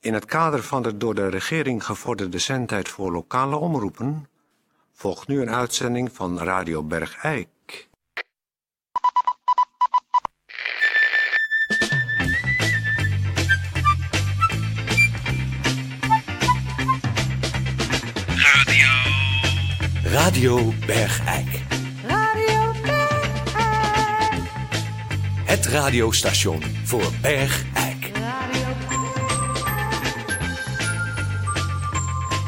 In het kader van de door de regering gevorderde zendtijd voor lokale omroepen volgt nu een uitzending van Radio Bergijk. Radio Bergijk. Radio Het radiostation voor Bergijk.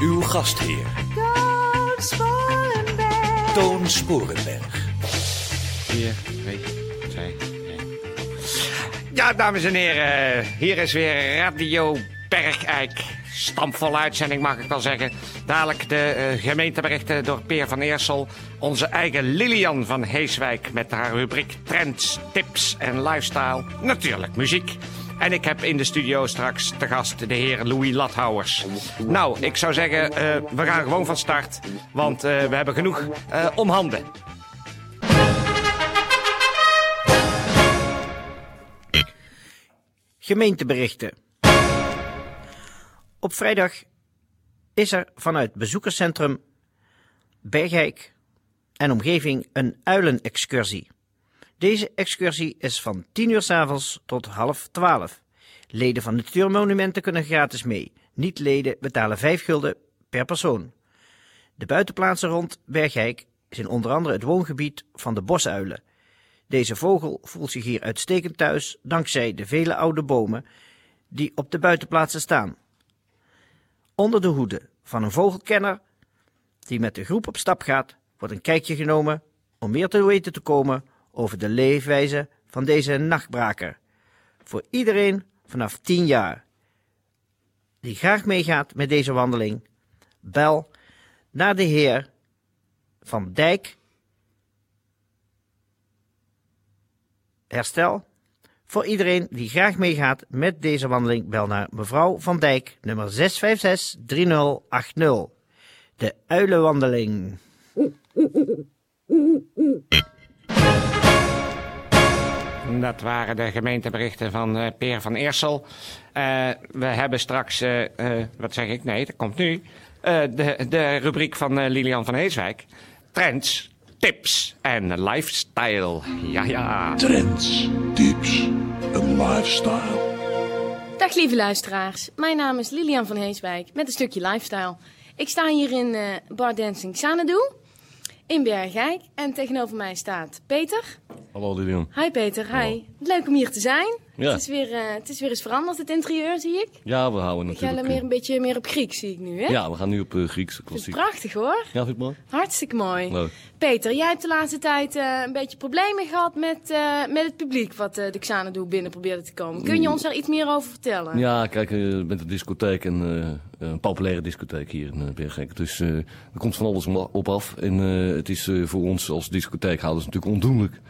Uw gastheer Toon Sporenberg. Vier, twee, twee, één. Ja, dames en heren, hier is weer Radio Bergijk. Stampvolle uitzending, mag ik wel zeggen. Dadelijk de eh, gemeenteberichten door Peer van Eersel. Onze eigen Lilian van Heeswijk met haar rubriek Trends, Tips en Lifestyle. Natuurlijk muziek. En ik heb in de studio straks te gast de heer Louis Lathouwers. Nou, ik zou zeggen, eh, we gaan gewoon van start. Want eh, we hebben genoeg eh om handen. Gemeenteberichten. Op vrijdag is er vanuit bezoekerscentrum Bergijk en omgeving een uilenexcursie. Deze excursie is van 10 uur 's avonds tot half 12. Leden van Natuurmonumenten kunnen gratis mee. Niet-leden betalen 5 gulden per persoon. De buitenplaatsen rond Bergijk zijn onder andere het woongebied van de bosuilen. Deze vogel voelt zich hier uitstekend thuis dankzij de vele oude bomen die op de buitenplaatsen staan. Onder de hoede van een vogelkenner die met de groep op stap gaat, wordt een kijkje genomen om meer te weten te komen over de leefwijze van deze nachtbraker. Voor iedereen vanaf 10 jaar. Die graag meegaat met deze wandeling, bel naar de heer Van Dijk herstel. Voor iedereen die graag meegaat met deze wandeling, bel naar mevrouw Van Dijk, nummer 656-3080. De uilenwandeling. Dat waren de gemeenteberichten van eh Peer van Eersel. Eh, we hebben straks, eh, eh, wat zeg ik? Nee, dat komt nu. Eh, de, de rubriek van eh, Lilian van Heeswijk. Trends, tips en lifestyle. Ja, ja. Trends, tips en lifestyle. Dag lieve luisteraars, mijn naam is Lilian van Heeswijk met een stukje lifestyle. Ik sta hier in eh Bar Dancing Xanadu in Bergijk en tegenover mij staat Peter. Hallo Lilian. Hi Peter, hi. Leuk om hier te zijn. Ja. Het, is weer, eh, het is weer eens veranderd, het interieur zie ik. Ja, we houden Ik ga natuurlijk... er meer een beetje meer op Griek zie ik nu hè. eh, ja, we gaan nu op eh, Griekse Vind ik klassiek. Prachtig hoor, Ja, vind je het mooi? hartstikke mooi. Leuk. Peter, jij hebt de laatste tijd eh, een beetje problemen gehad met, eh, met het publiek wat eh, de Xanadu binnen probeerde te komen. Kun je ons daar iets meer over vertellen? Mm. Ja, kijk, eh, met de discotheek, en, eh, een populaire discotheek hier in eh, Bergijk. Dus eh, er komt van alles om- op af. En eh, het is eh, voor ons als discotheekhouders natuurlijk ondoenlijk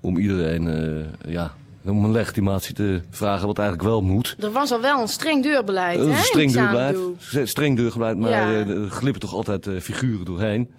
om iedereen eh, ja, om een legitimatie te vragen wat eigenlijk wel moet. Er was al wel een streng deurbeleid, Eh, hè? streng in deur Xanadu. blijft. Z- Streng deur blijft, maar Ja. eh, er glippen toch altijd eh, figuren doorheen.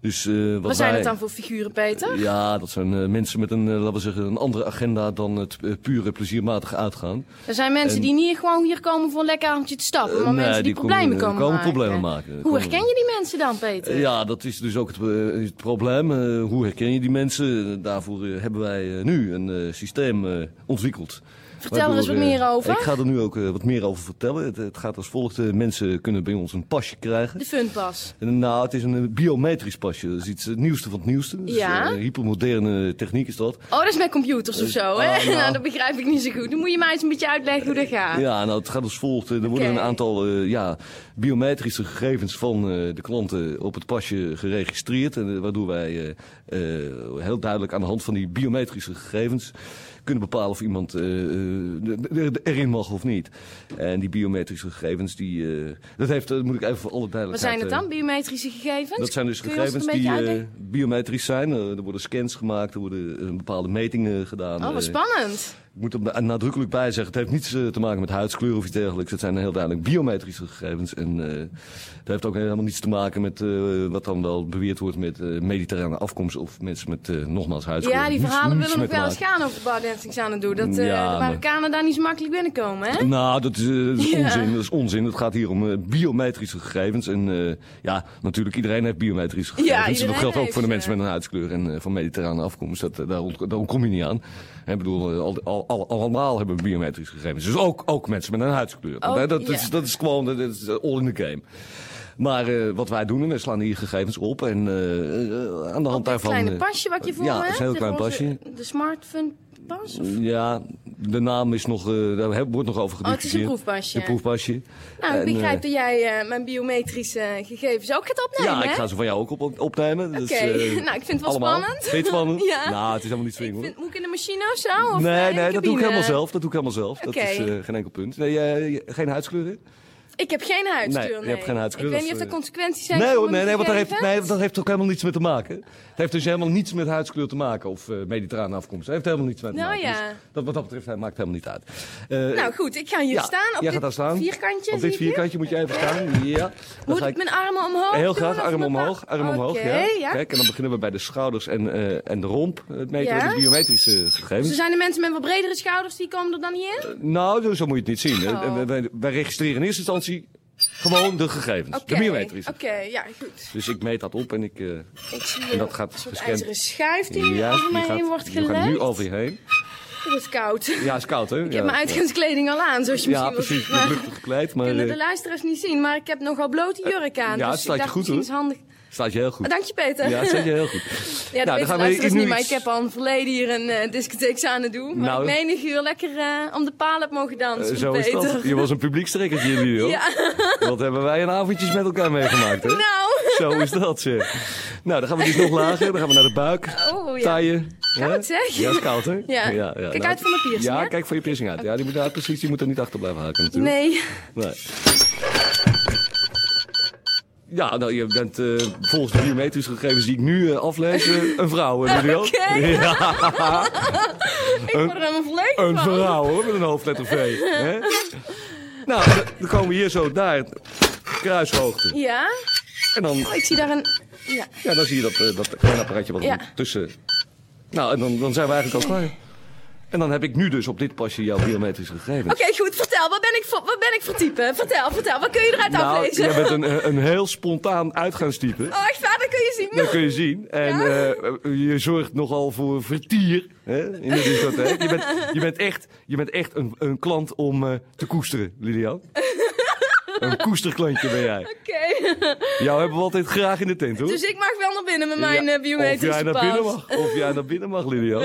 Dus, eh, wat Wat zijn wij- het dan voor figuren, Peter? Ja, dat zijn eh, mensen met een, eh, laten we zeggen, een andere agenda dan het eh, pure pleziermatige uitgaan. Er zijn mensen En- die niet gewoon hier komen voor een lekker avondje te stappen, maar Eh, mensen die, nee, die komen- problemen die komen, komen maken. problemen maken. Die Hoe komen- herken je die mensen dan, Peter? Eh, ja, dat is dus ook het, eh, het probleem. Eh, hoe herken je die mensen? Daarvoor eh, hebben wij eh, nu een eh, systeem eh, ontwikkeld. Vertel er eens wat eh, meer over. Ik ga er nu ook eh, wat meer over vertellen. Het, het gaat als volgt. eh, mensen kunnen bij ons een pasje krijgen. De funpas. En, Nou, het is een eh, biometrisch pasje. Dat is iets eh, het nieuwste van het nieuwste. Dus, Ja. eh, hypermoderne techniek is dat. Oh, dat is met computers of zo, hè? ah, nou. nou, dat begrijp ik niet zo goed. Dan moet je mij eens een beetje uitleggen hoe dat gaat. Ja, nou, het gaat als volgt. Eh, Er worden Oké. een aantal eh, ja, biometrische gegevens van eh, de klanten op het pasje geregistreerd. En, eh, waardoor wij eh, eh, heel duidelijk aan de hand van die biometrische gegevens kunnen bepalen of iemand eh, eh, er- er- erin mag of niet. En die biometrische gegevens, die, eh, dat heeft, eh, moet ik even voor alle Wat duidelijkheid... zijn het eh, dan, biometrische gegevens? dat zijn dus Kun je ons het gegevens een die beetje eh, uitleggen? biometrisch zijn. Eh, er worden scans gemaakt, er worden eh, bepaalde metingen gedaan. Oh, wat Eh, spannend. Ik moet er nadrukkelijk bij zeggen, het heeft niets eh, te maken met huidskleur of iets dergelijks. Het zijn heel duidelijk biometrische gegevens. En eh, het heeft ook helemaal niets te maken met eh, wat dan wel beweerd wordt met eh, mediterrane afkomst of mensen met eh, nogmaals huidskleur. Ja, die Niets- verhalen niets willen nog mee te wel eens maken. gaan over bardancing Xanadu. Dat eh, Ja, de maar- Marokkanen daar niet zo makkelijk binnenkomen, hè? Nou, dat is, eh, dat is Ja. onzin. Dat is onzin. Het gaat hier om eh, biometrische gegevens. En eh, ja, natuurlijk, iedereen heeft biometrische Ja, gegevens. dat iedereen geldt ook heeft, voor de mensen eh, met een huidskleur en eh, van mediterrane afkomst. Dat, eh, daar, ont- daar ontkom je niet aan. Ik bedoel, eh, al, al, al- allemaal hebben biometrische gegevens. Dus ook, ook mensen met een huidskleur. Ook, Eh, dat, is, ja. dat is gewoon dat is eh, all in the game. Maar eh, wat wij doen, we slaan hier gegevens op. En eh, eh, aan de Dat hand daarvan... kleine eh, pasje wat je voor ja, me het is hebt. een heel klein onze- pasje. Mm, De smartphone pas? Of? Ja, de naam is nog, eh, daar heb- wordt nog over Oh, het is een gediscussieerd. proefpasje. Een proefpasje. Nou, ik En, begrijp eh, dat jij eh, mijn biometrische eh, gegevens ook gaat opnemen, Ja, ik hè? ga ze van jou ook op, op- opnemen. Oké, Oké, nou, ik vind het wel spannend. Vind je het spannend? Ja. Nou, het is helemaal niet Ik swing hoor. vind- moet ik in de machine of zo? Of, eh, Nee, in de nee, dat doe ik cabine? helemaal zelf. Dat doe ik helemaal zelf. Oké. Dat is eh, geen enkel punt. Nee, jij- je- geen huidskleur hè? Ik heb geen huidskleur, Nee, je nee. hebt geen huidskleur, Ik weet dat niet is, of er eh, consequenties zijn nee voor hoor, nee, mijn nee, want daar heeft, gegevens. nee, dat heeft ook helemaal niets mee te maken. Het heeft dus helemaal niets met huidskleur te maken of eh mediterrane afkomst. Het heeft helemaal niets mee te Nou maken. ja. Dus dat, wat dat betreft hij maakt helemaal niet uit. Eh, Nou goed, ik ga hier ja, staan op jij dit gaat daar staan. vierkantje. Op zie dit ik hier. vierkantje moet je even staan. Ja. Dan Moet ga ik mijn armen omhoog Heel doen graag, of arm mijn pa- omhoog, arm omhoog. Oké, Ja. ja. Kijk, en dan beginnen we bij de schouders en, eh, en de romp. Het meten Ja. met de biometrische Dus er gegevens. zijn de mensen met wat bredere schouders, die komen er dan niet in? Nou, zo- zo moet je het niet zien. Oh. Eh, Wij, wij- wij registreren in eerste instantie gewoon de gegevens, Oké, de biometrische. Oké, ja, goed. Dus ik meet dat op en ik... eh, Ik zie En hier dat gaat een soort gescand. ijzeren schuif die hier juist, over mij heen wordt Dus die gaat gelegd. nu over je heen. Het is koud. Ja, is koud, hè? Ik heb mijn uitgaanskleding al aan, zoals je Ja, misschien precies. wel Met ziet. luchtig gekleed, maar kunnen de eh luisteraars niet zien, maar ik heb nogal blote jurk aan. ja, het dus staat ik je dacht, goed, misschien is handig. staat je heel Ah, goed. Dank je, Peter. Ja, staat je heel goed. Ja, dat Nou, weten dan de gaan we luisteraars nu niet, maar iets- ik heb al in het verleden hier een eh, discotheek aan het doen. Maar Nou, ik menig uur lekker eh, om de paal heb mogen dansen. Eh, met zo is Peter. dat. Je was een publiekstrekkertje in die hoor. Ja. Wat hebben wij een avondjes met elkaar meegemaakt, hè? Nou, Zo is dat, zeg. Nou, dan gaan we dus nog lager. Dan gaan we naar de buik. Oh, ja. Taaien. Koud, zeg. Ja, is koud, hè? Ja. Kijk uit voor mijn piercing, Ja, hè? kijk voor je piercing uit. Ja, die moet, ja, precies, die moet er niet achter blijven haken natuurlijk. nee. Nee. Ja, nou, je bent eh, volgens de biometrische gegevens die ik nu eh, aflees, eh, een vrouw, hè, Muriel? Oké. Ja, Ik word er helemaal volledig een van. vrouw, hoor, met een hoofdletter V. Hè? Nou, dan- dan komen we hier zo naar kruishoogte. Ja? En dan Oh, ik zie daar een... Ja. Ja, dan zie je dat, eh, dat kleine apparaatje wat Ja. tussen. Nou, en dan, dan zijn we eigenlijk al klaar. En dan heb ik nu dus op dit pasje jouw biometrische gegevens. Oké, goed. Vertel, wat ben, ik voor, wat ben ik voor type? Vertel, vertel. Wat kun je eruit nou, aflezen? jij bent een, eh, een heel spontaan uitgaanstype. Oh, echt waar? Dat kun je zien. Dat kun je zien. En eh, je zorgt nogal voor vertier hè, in de discotheek. Je bent, je bent echt, je bent echt een, een klant om eh, te koesteren, Lilian. Een koesterklantje ben jij. Oké. Jou hebben we altijd graag in de tent, hoor. Dus ik mag wel naar binnen met mijn Ja, eh, biometrische Of jij naar pas. binnen mag. Of jij naar binnen mag, Lilian.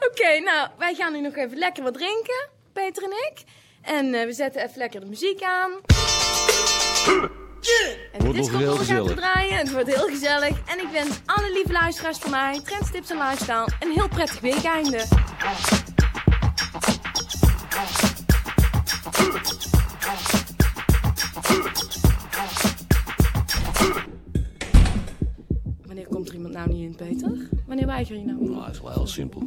Oké, nou, wij gaan nu nog even lekker wat drinken, Peter en ik. En eh, we zetten even lekker de muziek aan. En de Wordt nog heel disco gaat gezellig. te draaien. Het wordt heel gezellig. En ik wens alle lieve luisteraars van mij, Trends, Tips en Lifestyle, een heel prettig weekeinde. Wanneer komt er iemand nou niet in, Peter? Wanneer weiger je nou? Nou, het is wel heel simpel.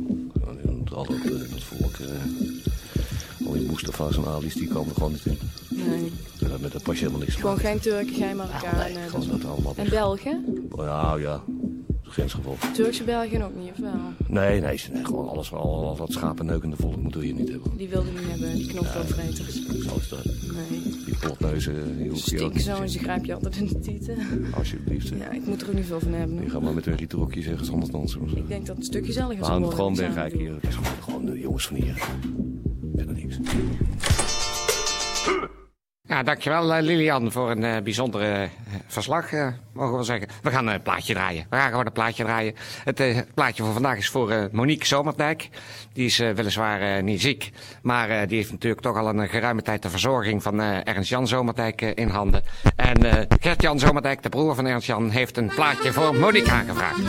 Ja, die doen het Altijd eh, dat volk, eh, al die Mustafa's en Ali's, die komen er gewoon niet in. Nee. En dat met dat pasje helemaal niks te Gewoon maken. geen Turken, geen Marokkanen. Nee, dat gewoon is- dat allemaal. En Belgen? Nou Ja, ja. Grensgeval. Turkse Belgen ook niet, of wel? Nee, nee, ze- nee, gewoon alles, al, al dat schapenneukende volk moeten we hier niet hebben. Die wilden niet hebben, die knofloopvreters. Zo is dat. Nee. Die plotneuzen, die hoef je ook Stinken niet zo en te ze zien. grijpen je altijd in de tieten. Alsjeblieft. hè. Ja, ik moet er ook niet veel van hebben. Die hoor. gaan maar met hun rietenrokjes ergens anders dansen. Ik denk dat het een stuk gezelliger We is. houden het gewoon geworden, weg, zou ik eigenlijk hier. Het is gewoon, gewoon de jongens van hier. Verder niks. Ja, dankjewel eh, Lilian voor een eh bijzonder eh, verslag, eh, mogen we wel zeggen. We gaan een plaatje draaien. We gaan gewoon een plaatje draaien. Het eh, plaatje voor vandaag is voor eh, Monique Zomerdijk. Die is eh, weliswaar eh, niet ziek, maar eh, die heeft natuurlijk toch al een eh, geruime tijd de verzorging van eh, Ernst-Jan Zomerdijk eh, in handen. En eh, Gert-Jan Zomerdijk, de broer van Ernst-Jan, heeft een plaatje voor Monique aangevraagd.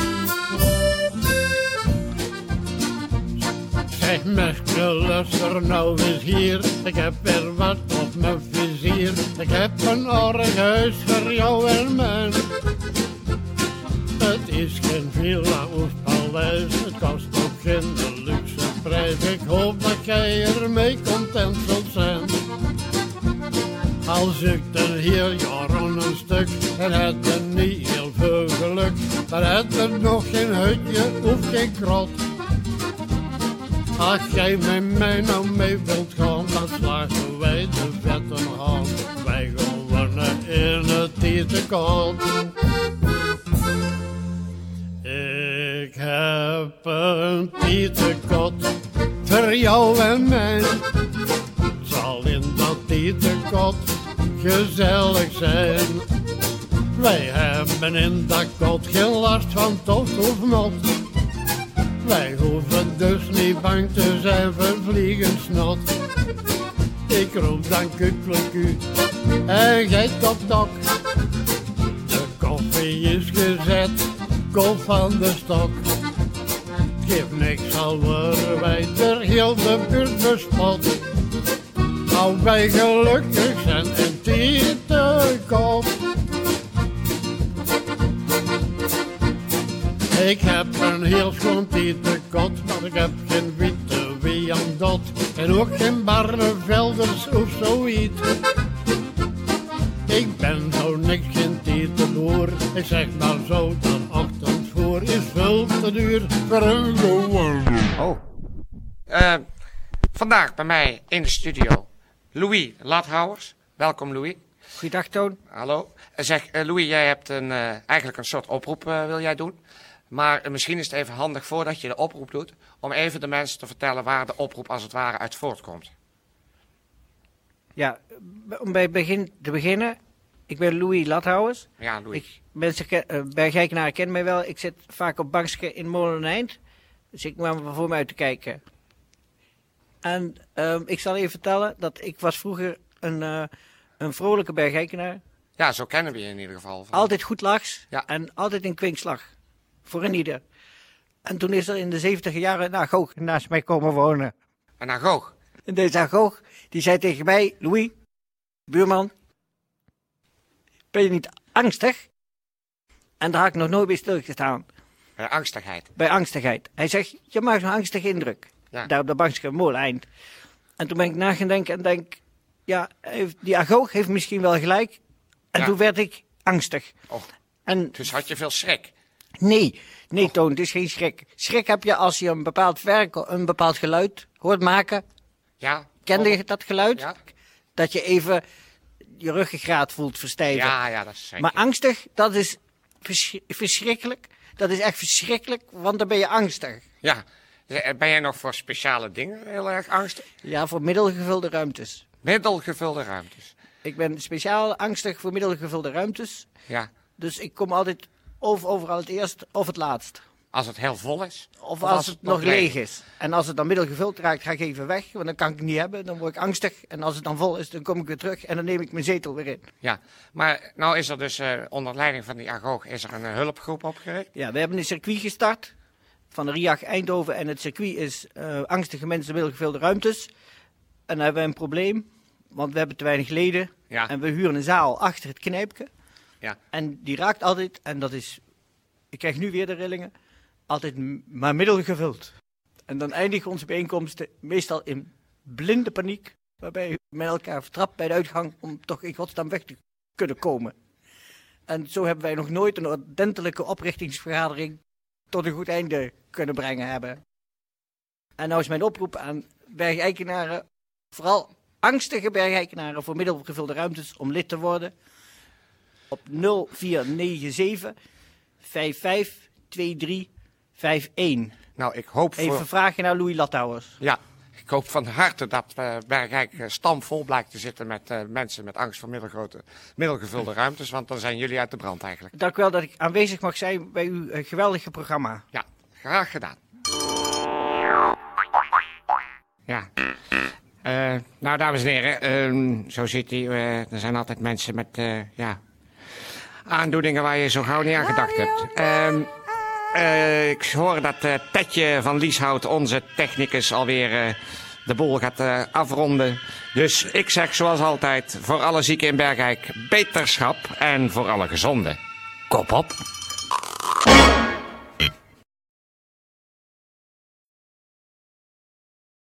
Zeg Merkel, luister nou eens hier. Ik heb weer wat op mijn vizier. Ik heb een aardig huis voor jou en men. Het is geen villa of paleis. Het kost ook geen deluxe hoop dat jij ermee content zult zijn. Al zoekt er hier jaren een stuk en het er niet heel veel geluk. Dan het er nog geen hutje of geen krot. Als jij met mij nou mee wilt gaan, dan slagen wij de vetten hand. Wij gaan wonnen in het tiende kant. Ik heb een tietenkot voor jou en mij. Het zal in dat tietenkot gezellig zijn. Wij hebben in dat kot geen last van tocht of not. Wij hoeven dus niet bang te zijn voor vliegensnot. Ik roep dan kut, pluk, u en gij top tok. De koffie is gezet, kom van de stok. Geef niks, al worden wij ter heel de buurt bespot. Al wij gelukkig zijn en tieten kop. Ik heb een heel schoon tietenkot, maar ik heb geen witte wiandot. En ook geen barnevelders of zoiets. Ik ben zo niks geen titelboer. Ik zeg maar zo, dat ochtendvoer is veel te duur voor een gewoon. Oh. Eh, vandaag bij mij in de studio Louis Lathouwers. Welkom Louis. Goeiedag, Toon. Hallo. Eh, Zeg, eh, Louis, jij hebt een, eh, eigenlijk een soort oproep eh, wil jij doen. Maar eh, misschien is het even handig voordat je de oproep doet... om even de mensen te vertellen waar de oproep als het ware uit voortkomt. Ja, b- om bij het begin te beginnen. Ik ben Louis Lathouwers. Ja, Louis. Ik, mensen ken- eh, bij Gijkenaren kennen mij wel. Ik zit vaak op bankje in Moleneind. Dus ik kwam voor me uit te kijken. En ehm, ik zal even vertellen dat ik was vroeger een, eh, een vrolijke Bergijkenaar. Ja, zo kennen we je in ieder geval. Van- Altijd goed lachs Ja. en altijd in kwinkslag. Voor een ieder. En toen is er in de 70 jaren een agoog naast mij komen wonen. Een agoog. En deze agoog, die zei tegen mij, Louis, buurman, ben je niet angstig? En daar had ik nog nooit bij stilgestaan, Eh, angstigheid. bij angstigheid. Hij zegt, je maakt zo'n angstige indruk. Ja. Daar op de bankje mooi eind. En toen ben ik na gaan denken en denk, ja, heeft- die agoog heeft misschien wel gelijk. En Ja. toen werd ik angstig. Oh, En dus had je veel schrik. Nee, nee, Toon, het is geen schrik. Schrik heb je als je een bepaald werk, een bepaald geluid hoort maken. Ja? Kende Oh, je dat geluid? Ja, Dat je even je ruggengraat voelt verstijven. ja, ja dat is zeker. maar angstig, dat is versch- verschrikkelijk. Dat is echt verschrikkelijk, want dan ben je angstig. Ja. Eh, Ben jij nog voor speciale dingen heel erg angstig? Ja, voor middelgevulde ruimtes. Middelgevulde ruimtes. Ik ben speciaal angstig voor middelgevulde ruimtes. Ja. Dus ik kom altijd of overal het eerst of het laatst. Als het heel vol is. Of als, het nog leeg is. En als het dan middelgevuld raakt, ga ik even weg, want dan kan ik het niet hebben. Dan word ik angstig. En als het dan vol is, dan kom ik weer terug en dan neem ik mijn zetel weer in. Ja, maar nou is er dus eh, onder leiding van die agoog is er een eh, hulpgroep opgericht. Ja, we hebben een circuit gestart van de RIAG Eindhoven. En het circuit is eh, angstige mensen middelgevulde ruimtes. En dan hebben we een probleem, want we hebben te weinig leden. Ja. En we huren een zaal achter het knijpje. Ja. En die raakt altijd, en dat is, ik krijg nu weer de rillingen, altijd m- maar middelgevuld. En dan eindigen onze bijeenkomsten meestal in blinde paniek, waarbij we met elkaar vertrapt bij de uitgang om toch in godsnaam weg te kunnen komen. En zo hebben wij nog nooit een ordentelijke oprichtingsvergadering tot een goed einde kunnen brengen hebben. En nou is mijn oproep aan bergeikenaren, vooral angstige bergeikenaren voor middelgevulde ruimtes om lid te worden op 0497 552351. Nou, ik hoop voor... Even een vraagje naar Louis Lathouwers. Ja, ik hoop van harte dat eh Bergrijk eh, stamvol blijkt te zitten met eh, mensen met angst voor middelgrote, middelgevulde ruimtes. Want dan zijn jullie uit de brand eigenlijk. Dank u wel dat ik aanwezig mag zijn bij uw eh, geweldige programma. Ja, graag gedaan. Ja. Eh, nou, dames en heren, ehm, zo zit hij. eh, er zijn altijd mensen met eh, ja, aandoeningen waar je zo gauw niet aan gedacht hebt. Ehm, eh, ik hoor dat eh Tetje van Lieshout, onze technicus, alweer eh, de boel gaat eh, afronden. Dus ik zeg zoals altijd, voor alle zieken in Bergijk, beterschap en voor alle gezonden. Kop op!